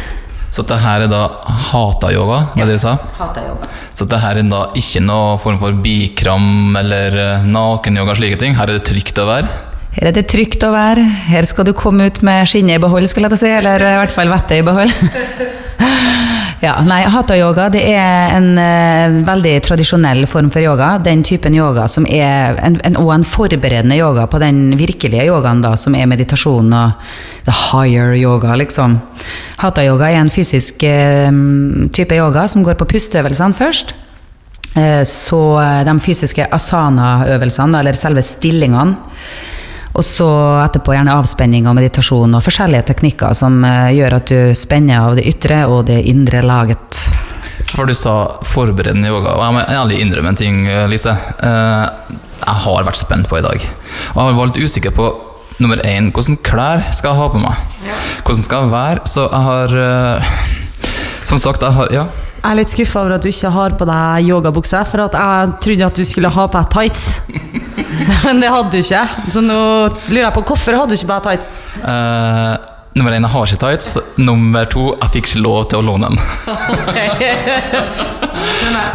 Speaker 2: Så dette her er da hata-yoga, var det du sa?
Speaker 6: Hater yoga.
Speaker 2: Så dette her er da ikke noe form for bikram eller eh, nakenyoga, slike ting? Her er det trygt å være?
Speaker 6: Her er det trygt å være. Her skal du komme ut med skinnet i behold, skulle jeg til å si. Eller i hvert fall vettet i behold. Ja, nei, Hatha-yoga det er en eh, veldig tradisjonell form for yoga. Den typen yoga som er en, en, og en forberedende yoga på den virkelige yogaen da, som er meditasjon og the higher yoga, liksom. Hatha-yoga er en fysisk eh, type yoga som går på pusteøvelsene først. Eh, Så de fysiske asana-øvelsene, da, eller selve stillingene. Og så etterpå gjerne avspenning og meditasjon og forskjellige teknikker som eh, gjør at du spenner av det ytre og det indre laget.
Speaker 2: For du sa forberedende yoga, og jeg må ærlig innrømme en ting, eh, Lise. Eh, Jeg har vært spent på i dag. Og jeg var litt usikker på nummer én, hvordan klær skal jeg ha på meg? Hvordan skal jeg være? Så jeg har eh, Som sagt, jeg har Ja.
Speaker 4: Jeg er litt skuffa over at du ikke har på deg yogabukse, for at jeg trodde at du skulle ha på deg tights. Men det hadde du ikke. Så nå lurer jeg på hvorfor hadde du ikke på deg tights?
Speaker 2: eh, nummer én, jeg har ikke tights. Nummer to, jeg fikk ikke lov til å låne den.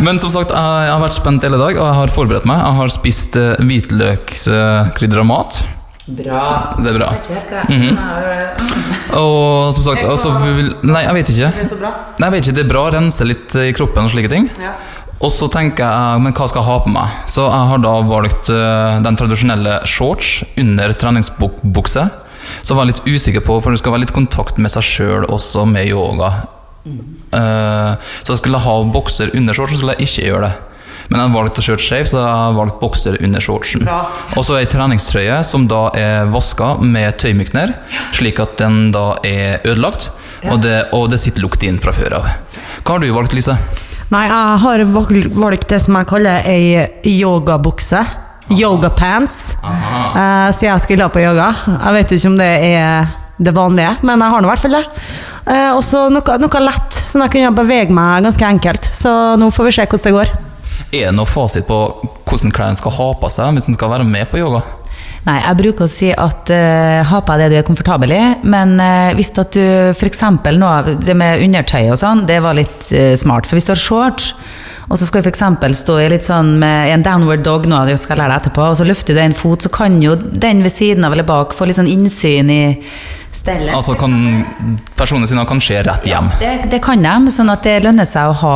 Speaker 2: Men som sagt, jeg jeg har vært spent hele dag, og jeg har forberedt meg. Jeg har spist eh, hvitløkskrydra mat.
Speaker 6: Bra.
Speaker 2: Det er bra. Mhm. Og som sagt altså, vi vil, Nei, jeg vet ikke. Nei, jeg vet ikke, Det er bra å rense litt i kroppen og slike ting. Og så tenker jeg men hva skal jeg ha på meg? Så jeg har da valgt eh, den tradisjonelle shorts under treningsbukse. Så var jeg litt usikker på, for du skal være litt i kontakt med seg sjøl også med yoga. Eh, så jeg skulle ha bokser under shorts, så skulle jeg ikke gjøre det. Men jeg valgte å kjøre shave, så jeg valgte bokser under shortsen. Og så ei treningstrøye som da er vaska med tøymykner, slik at den da er ødelagt. Og, det, og det sitter lukt inn fra før av. Hva har du valgt, Lise?
Speaker 4: Nei, jeg har valg- valgt det som jeg kaller ei yogabukse. Yogapants. Eh, så jeg skulle ha på yoga. Jeg vet ikke om det er det vanlige, men jeg har nå i hvert fall det. Eh, og så noe, noe lett, sånn at jeg kunne bevege meg ganske enkelt. Så nå får vi se hvordan det går.
Speaker 2: Er det noe fasit på hvordan klærne skal ha på seg hvis en skal være med på yoga?
Speaker 6: Nei, jeg bruker å si at eh, ha på deg det du er komfortabel i, men eh, hvis at du for eksempel nå, det med undertøy og sånn, det var litt eh, smart, for hvis du har shorts, og så skal du for eksempel stå i litt sånn med i en downward dog nå, det skal jeg lære deg etterpå, og så løfter du en fot, så kan jo den ved siden av eller bak få litt sånn innsyn i stellet.
Speaker 2: Altså, kan, Personene sine kan skje rett hjem.
Speaker 6: Det, det kan de, sånn at det lønner seg å ha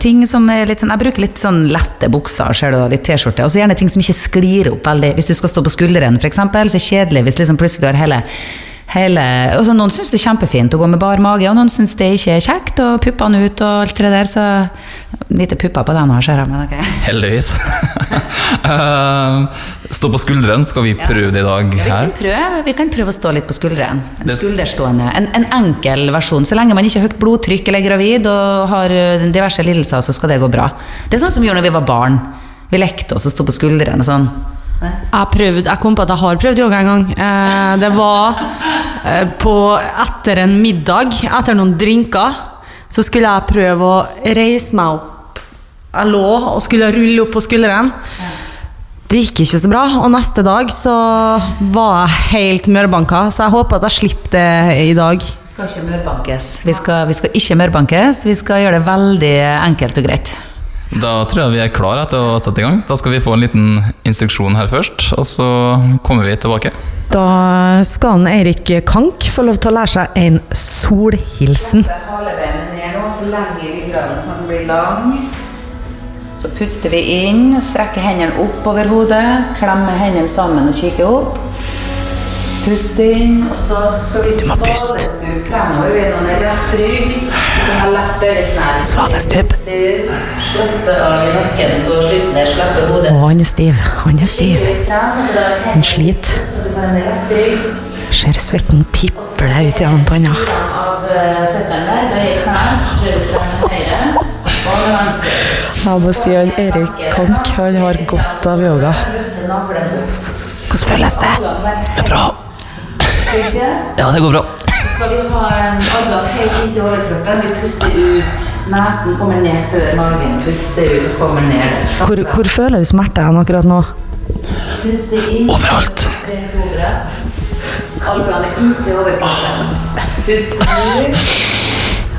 Speaker 6: ting som er litt sånn Jeg bruker litt sånn lette bukser ser du, og litt T-skjorte. Og så gjerne ting som ikke sklir opp veldig. Hvis du skal stå på skulderen, f.eks., så er det kjedelig hvis liksom plutselig du har hele Hele, og så Noen syns det er kjempefint å gå med bar mage, og noen syns det ikke er kjekt. Og puppene ut og alt det der, så Lite pupper på deg nå, ser jeg. Men ok.
Speaker 2: Heldigvis. Eh, Stå på skuldrene, skal vi prøve det i dag
Speaker 6: Vi
Speaker 2: her?
Speaker 6: kan, prøve, vi kan prøve å stå litt på skulderen. En
Speaker 2: Det-
Speaker 6: skulderstående. En, en enkel versjon. Så lenge man ikke har høyt blodtrykk eller er gravid og har ø, diverse lidelser, så skal det gå bra. Det er sånn som vi gjorde når vi var barn. Vi lekte oss og sto på skulderen og sånn.
Speaker 4: Jeg, prøvde, jeg kom på at jeg har prøvd yoga en gang. Eh, det var eh, på, etter en middag, etter noen drinker, så skulle jeg prøve å reise meg opp. Jeg lå og skulle rulle opp på skulderen. Det gikk ikke så bra, og neste dag så var jeg helt mørbanka, så jeg håper at jeg slipper det i dag.
Speaker 6: Vi skal ikke mørbankes. Vi skal, vi skal ikke mørbankes. Vi skal gjøre det veldig enkelt og greit.
Speaker 2: Da tror jeg vi er klare til å sette i gang. Da skal vi få en liten instruksjon her først, og så kommer vi tilbake.
Speaker 4: Da skal han Eirik Kank få lov til å lære seg en solhilsen.
Speaker 6: Halebenet ned nå, forlenger ryggraden sånn at den blir lang. Så puster vi inn, strekker hendene opp over hodet, klemmer hendene sammen og kikker opp. Pust inn, og så skal vi svalestup fremover. Vi er nå ned rett rygg. Du kan ha lett bedre knær. Svalestup. Slappe av i nakken på slutten der, slappe hodet.
Speaker 4: Å, han er stiv. Han er stiv.
Speaker 6: Kikker vi frem, og drar
Speaker 4: Han
Speaker 6: hendene
Speaker 4: sliter.
Speaker 6: ut, så du har en rett rygg.
Speaker 4: Ser svetten piple ut i den panna.
Speaker 6: Siden av eh, føttene der, bøyer knær, så kjører du frem høyre og venstre.
Speaker 4: Jeg må si han Erik Kank han har godt av yoga. Hvordan føles det?
Speaker 2: Det er bra. Ja, det går bra.
Speaker 6: Skal vi ha en adgang helt inntil overkroppen? Vi puster ut. Nesen kommer ned før magen. Puster ut, kommer ned.
Speaker 4: Hvor, hvor føler du smerte hen akkurat nå?
Speaker 6: Puster inn.
Speaker 2: Overalt.
Speaker 6: Rent over. Albuene inntil overkroppen. Pust ut,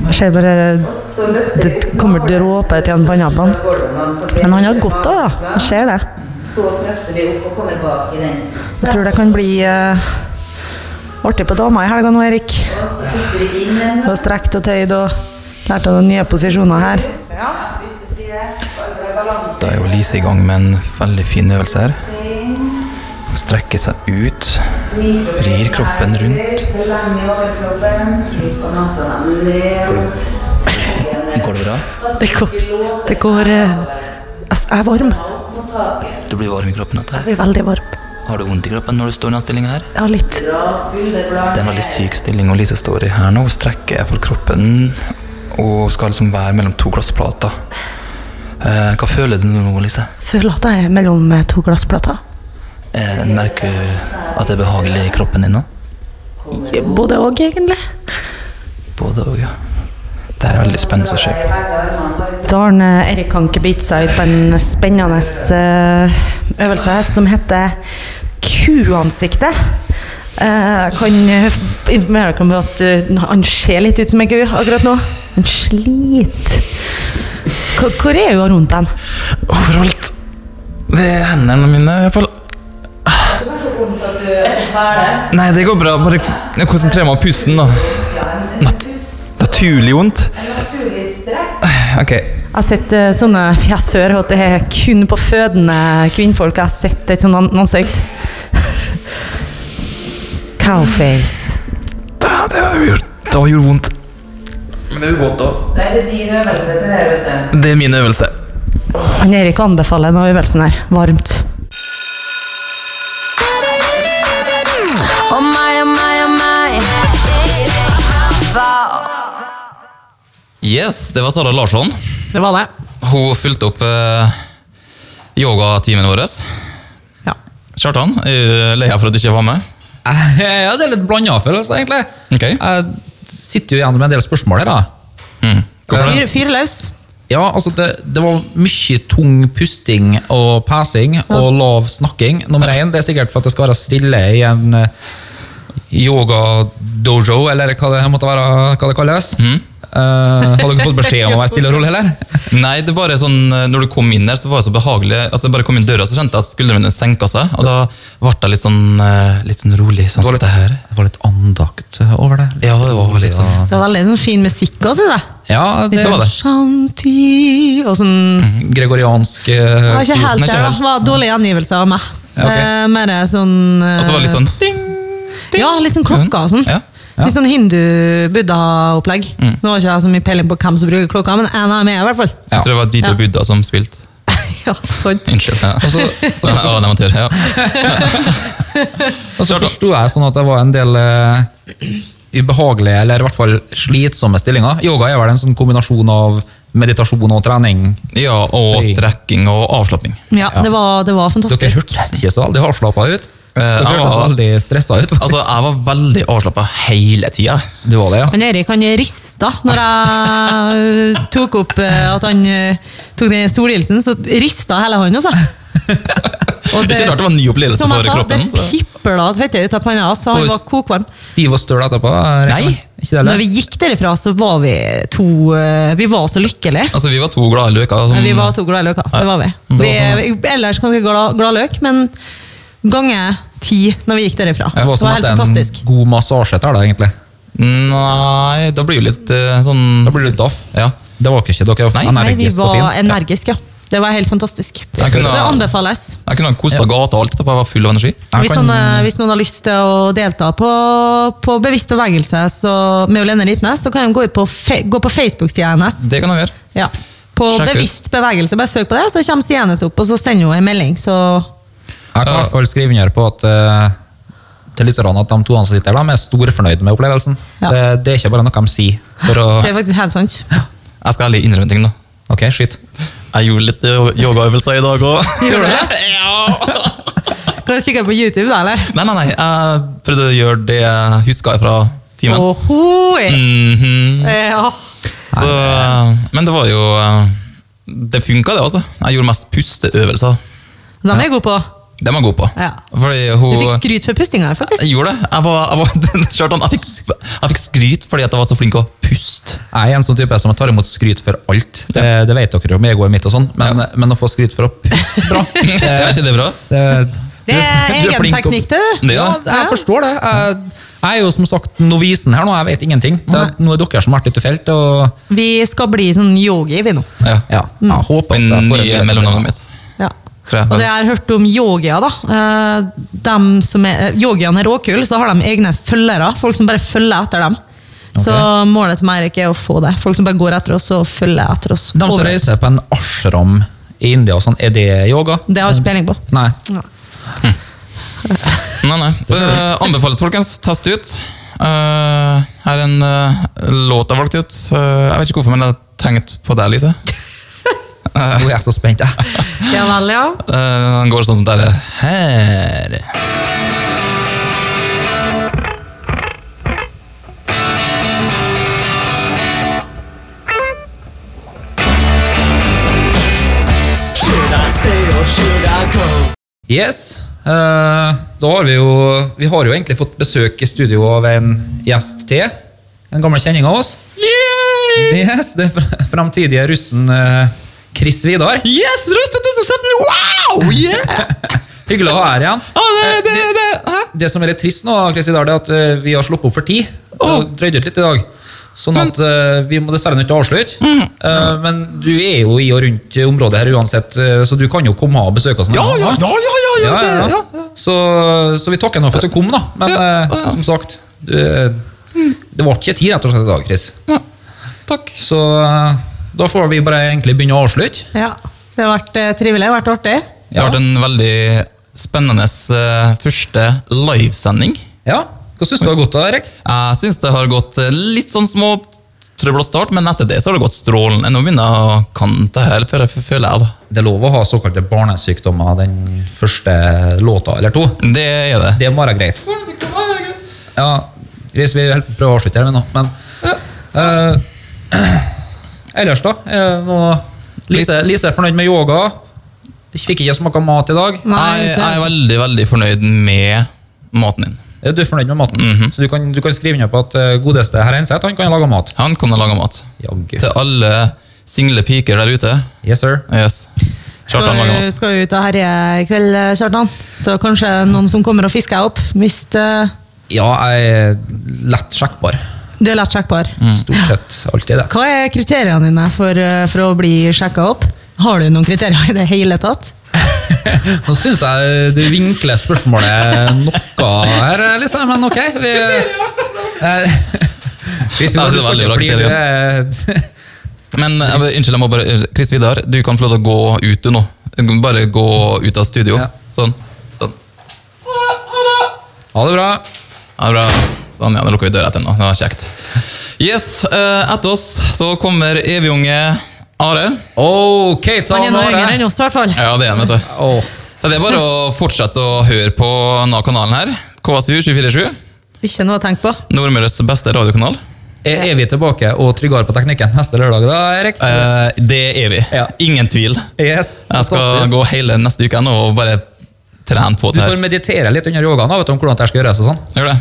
Speaker 4: Jeg ser bare
Speaker 6: så løfter vi
Speaker 4: det kommer dråper til han pannebånd. Men han har godt av det. Jeg ser det.
Speaker 6: Så presser vi opp og kommer bak i den.
Speaker 4: Jeg tror det kan bli eh, artig på dama i helga nå, Erik.
Speaker 6: Så puster vi inn igjen.
Speaker 4: Du har strekt og tøyd og lært av noen nye posisjoner her.
Speaker 2: Da er jo Lise i gang med en veldig fin øvelse her. Hun strekker seg ut, vrir kroppen rundt,
Speaker 6: Forlenge overkroppen. Trykker nesen ned.
Speaker 2: går det bra?
Speaker 4: Det går, det går eh, altså, Jeg er varm.
Speaker 2: Du blir varm i kroppen av dette.
Speaker 4: Jeg blir veldig varm.
Speaker 2: her. Har du vondt i kroppen når du står i denne stillinga her?
Speaker 4: Ja, litt.
Speaker 2: Det er en veldig syk stilling og Lise står i her nå. Hun strekker for kroppen og skal liksom være mellom to glassplater. Eh, hva føler du nå, Lise?
Speaker 4: Føler at jeg er mellom eh, to glassplater.
Speaker 2: Eh, merker du at det er behagelig i kroppen din nå?
Speaker 4: Både òg, egentlig.
Speaker 2: Både og, ja. Det her er veldig spennende å se på.
Speaker 4: Da har han, eh, Erik Hanke bitt seg ut på en spennende eh, øvelse som heter kuansiktet. Eh, Jeg kan eh, informere dere om at eh, han ser litt ut som en ku akkurat nå. Han sliter. Hvor- Hvor er hun rundt den?
Speaker 2: Overalt. Ved hendene mine, i hvert fall. Nei, det går bra. Bare jeg konsentrerer meg om pusten, da. Nat naturlig vondt. Ok.
Speaker 4: Jeg har sett eh, sånne fjes før, og det er kun på fødende kvinnfolk jeg har sett et sånt an- ansikt. Cowface.
Speaker 2: Da, det har jo gjort Det har gjort vondt. Men det gjør godt, da.
Speaker 6: Da er det din øvelse til det, vet du.
Speaker 2: Det er min øvelse.
Speaker 4: Han Erik anbefaler denne øvelsen her. Varmt.
Speaker 7: Oh my, oh my, oh my.
Speaker 2: Yes, det var Sara Larsson.
Speaker 8: Det var det.
Speaker 2: Hun fulgte opp eh, yogatimen vår.
Speaker 8: Ja.
Speaker 2: Kjartan, er du lei deg for at du ikke var med?
Speaker 3: Ja, det er litt blanda følelse, egentlig.
Speaker 2: Ok.
Speaker 3: Jeg sitter jo igjen med en del spørsmål her. da.
Speaker 2: Mm. Hvorfor det?
Speaker 8: Fyr, fyr løs.
Speaker 3: Eh, Ja, altså Det, det var mye tung pusting og pesing og lav snakking. Nummer én, det er sikkert for at det skal være stille i en eh, yoga-dojo, eller hva det måtte være, hva det kalles. Eh, har dere fått beskjed om å være stille og rolig, eller?
Speaker 2: Nei, det er bare sånn, eh, når du kom inn her, så var det så behagelig. Altså, jeg bare kom inn døra, så kjente jeg at skuldrene mine senka seg. Og da ble jeg litt sånn, eh, litt sånn rolig. sånn som
Speaker 3: litt-
Speaker 2: det her.
Speaker 3: Det var litt andakt over det.
Speaker 2: Ja, det var litt sånn.
Speaker 8: Det var veldig sånn fin musikk òg, syns jeg.
Speaker 3: Ja, det
Speaker 2: Det var
Speaker 3: var
Speaker 2: det.
Speaker 8: Shanti og sånn
Speaker 3: gregoriansk
Speaker 8: Det
Speaker 3: eh,
Speaker 8: var ikke helt
Speaker 2: Mm. Nei,
Speaker 8: det.
Speaker 2: ikke
Speaker 8: da.
Speaker 2: helt.
Speaker 8: Det var dårlig gjengivelse av meg.
Speaker 3: Ja, ok.
Speaker 8: Eh, Mer sånn eh,
Speaker 2: Og så var det litt sånn ding, ding.
Speaker 8: Ja, litt sånn klokka og sånn.
Speaker 2: Ja. Mm.
Speaker 8: Litt sånn hindu-buddha-opplegg. Nå har ikke jeg så mye peiling på hvem som bruker klokka, men en av dem er jeg, i hvert fall.
Speaker 2: Jeg tror det var DJ
Speaker 8: Ja.
Speaker 2: Buddha som spilte.
Speaker 8: Ja, sant.
Speaker 2: Unnskyld. Ja. Ja, jeg var en amatør, ja.
Speaker 3: Og så forsto jeg sånn at det var en del eh, ubehagelige, eller i hvert fall slitsomme stillinger. Yoga er vel en sånn kombinasjon av meditasjon og trening.
Speaker 2: ja, og strekking og avslapping.
Speaker 8: Ja, det var, det var
Speaker 3: Dere
Speaker 8: fantastisk.
Speaker 3: hørtes ikke så veldig avslappa ut.
Speaker 2: jeg
Speaker 3: Dere hørtes
Speaker 2: var-
Speaker 3: veldig stressa ut.
Speaker 2: Altså, Jeg var veldig avslappa hele tida.
Speaker 3: Du var det, ja.
Speaker 8: Men Erik han rista når jeg eh, tok opp eh, at han eh, tok den solhilsen, så rista hele hånda seg. Og
Speaker 2: Ikke rart det var en ny opplevelse
Speaker 8: som jeg
Speaker 2: for
Speaker 8: sa,
Speaker 2: kroppen.
Speaker 8: Det pipla svette ut av panna, hans, så
Speaker 3: Og
Speaker 8: han
Speaker 3: hvis-
Speaker 8: var kokvarm.
Speaker 3: Stiv og støl etterpå? eh,
Speaker 2: Nei.
Speaker 3: Ikke det,
Speaker 8: Når
Speaker 3: eller?
Speaker 8: vi gikk derifra, så var vi to eh, Vi var så lykkelige.
Speaker 2: Altså, Vi var to glade løker.
Speaker 8: Men
Speaker 2: Sånn,
Speaker 8: Vi var to glade løker. Det var vi. vi vi- ellers ganske glad, glad løk, men ganger ti når vi gikk derifra.
Speaker 3: Det
Speaker 8: Det
Speaker 3: var som at
Speaker 8: var helt
Speaker 3: det er en
Speaker 8: fantastisk.
Speaker 3: god massasje til deg, egentlig.
Speaker 2: Nei, da blir det litt eh, sånn
Speaker 3: Da blir du daff.
Speaker 2: Ja.
Speaker 3: Det var dere ikke. Dere var
Speaker 2: Nei.
Speaker 8: Nei, vi
Speaker 3: energiske og
Speaker 8: var
Speaker 3: fine.
Speaker 8: energiske, ja. Det var helt fantastisk.
Speaker 2: Jeg
Speaker 8: Det
Speaker 2: kunne ha-
Speaker 8: anbefales.
Speaker 2: Jeg kunne ha kosta gata og alt etterpå. Jeg var full av energi.
Speaker 3: Jeg
Speaker 8: Hvis
Speaker 3: kan-
Speaker 8: noen, eh, hvis noen har lyst til å delta på, på bevisst bevegelse så, med Lene Rytnes, så kan de gå, ut på, fe, gå på Facebook-sida hennes.
Speaker 2: Det kan jeg gjøre.
Speaker 8: Ja. På
Speaker 2: Sjekk ut.
Speaker 8: bevisst bevegelse, bare søk på det, så kommer sida hennes opp, og så sender hun en melding. Så
Speaker 3: Jeg kan i hvert fall skrive under på at eh, til lytterne at de to som sitter her, de er storfornøyd med opplevelsen.
Speaker 8: Ja.
Speaker 3: Det, det er ikke bare noe de sier. For å,
Speaker 8: Det er faktisk helt sant.
Speaker 2: Jeg skal ærlig innrømme en ting, da.
Speaker 3: ok, shit.
Speaker 2: Jeg gjorde litt yo- yogaøvelser i dag òg.
Speaker 8: Gjorde du det? Kan du kikke på YouTube, da? eller?
Speaker 2: Nei, nei, nei, jeg prøvde å gjøre det jeg huska fra timen.
Speaker 8: Ohoi!
Speaker 2: Mhm.
Speaker 8: Ja.
Speaker 2: Så, eh, men det var jo eh, Det funka, det, altså. Jeg gjorde mest pusteøvelser.
Speaker 8: De er jeg god på.
Speaker 2: Det er man god på.
Speaker 8: Ja.
Speaker 2: Fordi
Speaker 8: Du
Speaker 2: hun...
Speaker 8: fikk skryt for pustinga, faktisk.
Speaker 2: Jeg gjorde det. Jeg, var, jeg, var, Kjartan, jeg, fikk, jeg fikk skryt fordi at jeg var så flink å puste.
Speaker 3: Jeg er en sånn type som tar imot skryt for alt. Det, det vet dere jo om egoet mitt, og sånn, men, men å få skryt for å puste bra Eh,
Speaker 2: Er ikke det bra?
Speaker 3: det-
Speaker 8: Det er
Speaker 3: du- du
Speaker 8: egen
Speaker 3: flink å-
Speaker 8: teknikk, det.
Speaker 2: Det, ja.
Speaker 3: Ja, jeg forstår det. Jeg, jeg er jo som sagt novisen her nå, jeg vet ingenting. Det, er- nå er dere som har vært ute i felt. og
Speaker 8: Vi skal bli sånn yogi, vi nå.
Speaker 2: ja.
Speaker 3: ja,
Speaker 8: Mm.
Speaker 3: jeg håper at jeg
Speaker 2: Men
Speaker 3: får en
Speaker 2: nye
Speaker 3: bedre-
Speaker 2: mellomnavnet mitt.
Speaker 8: Ja.
Speaker 2: Tror jeg.
Speaker 8: Og det jeg har hørt om yogier, da. eh, Dem som er, eh, yogiene er råkule, så har de egne følgere. Folk som bare følger etter dem. Så
Speaker 3: Ok.
Speaker 8: målet til Meirik er å få det. Folk som bare går etter oss og følger etter oss.
Speaker 3: De som
Speaker 8: overalt.
Speaker 3: reiser på en ashram i India, og sånn, er det yoga?
Speaker 8: Det har jeg ikke peiling på.
Speaker 3: Nei.
Speaker 2: Nei, nei. Eh, anbefales, folkens. Test ut. Eh, her er en eh, låt jeg valgte ut. Eh, jeg vet ikke hvorfor, men jeg tenkte på deg, Lise.
Speaker 3: Nå er jeg så spent, jeg.
Speaker 8: Ja vel, ja.
Speaker 2: Eh, den går sånn som dette her.
Speaker 3: Yes. eh, da har vi jo Vi har jo egentlig fått besøk i studio av en gjest til. En gammel kjenning av oss. Yes, Det er framtidige russen eh, Chris Vidar.
Speaker 2: Yes! Ruste 2017! Wow! Yeah!
Speaker 3: Hyggelig å ha her igjen. Eh,
Speaker 2: Ah, det, det, det. Hæ?
Speaker 3: Det som er litt trist nå, Chris Vidar, det er at eh, vi har sluppet opp for tid. Det har drøyd ut litt i dag. Sånn at eh, vi må dessverre nødt til å avslutte.
Speaker 2: Mm.
Speaker 3: Eh, men du er jo i og rundt området her uansett, eh, så du kan jo komme og besøke oss. når
Speaker 2: Ja,
Speaker 3: du
Speaker 2: ja,
Speaker 3: kommer.
Speaker 2: ja, ja, ja, ja,
Speaker 3: Ja,
Speaker 2: det,
Speaker 3: ja,
Speaker 2: ja.
Speaker 3: ja. Så, så vi takker nå for at du kom, da. Men eh, som sagt, du, eh, det ble ikke tid rett og slett i dag, Chris.
Speaker 2: Takk.
Speaker 3: Så eh, da får vi bare egentlig begynne å avslutte.
Speaker 8: ja. Det har vært eh, trivelig. Det har vært artig.
Speaker 2: Det har vært en veldig spennende eh, første livesending.
Speaker 3: Ja, Hva syns du har gått av, Erik?
Speaker 2: Jeg syns det har gått eh, litt sånn små trøbbel og start, men etter det så har det gått strålende. Nå begynner jeg å kan det her, for jeg føler jeg det.
Speaker 3: Det er lov å ha såkalte barnesykdommer den første låta eller to.
Speaker 2: Det er det.
Speaker 3: Det må være greit. Ja, Chris, vi helt- prøver å avslutte her, vi nå, men eh, Ellers, da? Er det noe Lise, Lise er fornøyd med yoga. Fikk ikke smake mat i dag.
Speaker 8: Nei,
Speaker 2: Jeg,
Speaker 8: ikke.
Speaker 2: jeg er veldig, veldig fornøyd med maten din.
Speaker 3: Er du fornøyd med maten? Så du kan, du kan skrive under på at eh, godeste herr Henseth han kan lage mat.
Speaker 2: Han kunne lage mat.
Speaker 3: Jaggu.
Speaker 2: Til alle single piker der ute.
Speaker 3: Yes, sir.
Speaker 2: Yes. Kjartan lager
Speaker 8: Skal,
Speaker 2: mat.
Speaker 8: skal jo ut og herje i kveld, eh, Kjartan. Så kanskje noen som kommer og fisker opp. Hvis eh,
Speaker 3: Ja, jeg er lett sjekkbar.
Speaker 8: du er lett sjekkbar.
Speaker 2: Mm.
Speaker 3: Stort sett alltid det.
Speaker 8: Hva er kriteriene dine for, eh, for å bli sjekka opp? Har du noen kriterier i det hele tatt?
Speaker 3: Nå syns jeg du vinkler spørsmålet noe her, liksom, men ok. Vi, eh, hvis vi
Speaker 2: Nei, det er veldig bra
Speaker 3: blir det
Speaker 2: Men jeg, vil- unnskyld, jeg må bare eh, Chris Vidar, du kan få lov til å gå ut du nå. Bare gå ut av studio.
Speaker 3: Ja.
Speaker 2: Sånn. sånn.
Speaker 3: Ha det bra.
Speaker 2: Ja, bra. Sånn, ja, Da lukker vi døra etter den. da. Det var kjekt. Yes, eh, Etter oss så kommer evigunge Are.
Speaker 3: Ok, ta
Speaker 8: Han er noe yngre
Speaker 3: vare.
Speaker 8: enn oss, i hvert fall.
Speaker 2: Ja, det er han, vet du.
Speaker 3: Åh,
Speaker 2: Så det er bare å fortsette å høre på NA-kanalen her. KSU 247.
Speaker 8: Ikke noe å tenke på.
Speaker 2: Nordmøres beste radiokanal.
Speaker 3: er, er vi tilbake og tryggere på teknikken neste lørdag, da, Erik?
Speaker 2: Eh, det er vi.
Speaker 3: Ja.
Speaker 2: Ingen tvil.
Speaker 3: Yes.
Speaker 2: Jeg skal
Speaker 3: fantastisk.
Speaker 2: gå hele neste uke nå og bare trene på
Speaker 3: Du
Speaker 2: det
Speaker 3: får
Speaker 2: her.
Speaker 3: meditere litt under yogaen da, vet du, om hvordan det her skal gjøres. og sånn.
Speaker 2: Gjør det.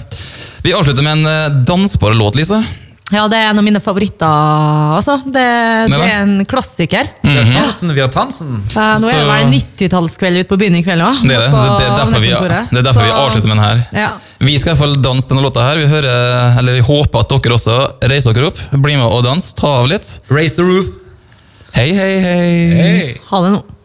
Speaker 2: Vi avslutter med en eh, dansbar låt, Lise.
Speaker 8: Ja, det er en av mine favoritter, altså. Det, det
Speaker 2: vel.
Speaker 8: er en klassiker.
Speaker 3: Vi
Speaker 2: Mhm.
Speaker 3: har Tansen via tansen.
Speaker 8: Eh, nå er det
Speaker 2: Så-
Speaker 8: vel 90-tallskveld ute på byen i kveld òg.
Speaker 2: Det er, det. Det, er derfor, vi, det er derfor vi avslutter med den her.
Speaker 8: Ja.
Speaker 2: Vi skal i hvert fall danse denne låta her. Vi, hører, eller vi håper at dere også reiser dere opp. Bli med og dans. Ta av litt.
Speaker 3: Raise the roof.
Speaker 2: Hei, hei, hei.
Speaker 3: Hey.
Speaker 8: Ha det nå.